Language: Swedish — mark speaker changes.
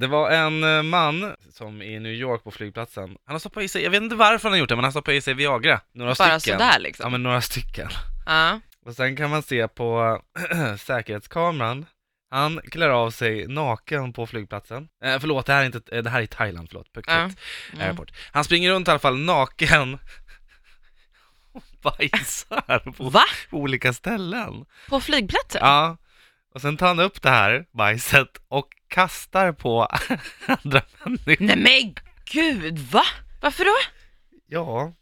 Speaker 1: Det var en eh, man som i New York på flygplatsen, han har stoppat i sig, jag vet inte varför han har gjort det, men han har stoppat i sig Viagra. Några
Speaker 2: Bara
Speaker 1: stycken.
Speaker 2: sådär
Speaker 1: Ja
Speaker 2: liksom.
Speaker 1: men några stycken.
Speaker 2: Ja.
Speaker 1: Och sen kan man se på säkerhetskameran, han klär av sig naken på flygplatsen. Eh, förlåt, det här är inte, eh, det här är i Thailand, förlåt.
Speaker 2: Ja.
Speaker 1: Phuket
Speaker 2: Mm.
Speaker 1: Airport. Han springer runt i alla fall naken och bajsar på
Speaker 2: Va?
Speaker 1: olika ställen.
Speaker 2: På flygplatsen?
Speaker 1: Ja, och sen tar han upp det här bajset och kastar på andra människor.
Speaker 2: Nej men gud, va? Varför då?
Speaker 1: Ja,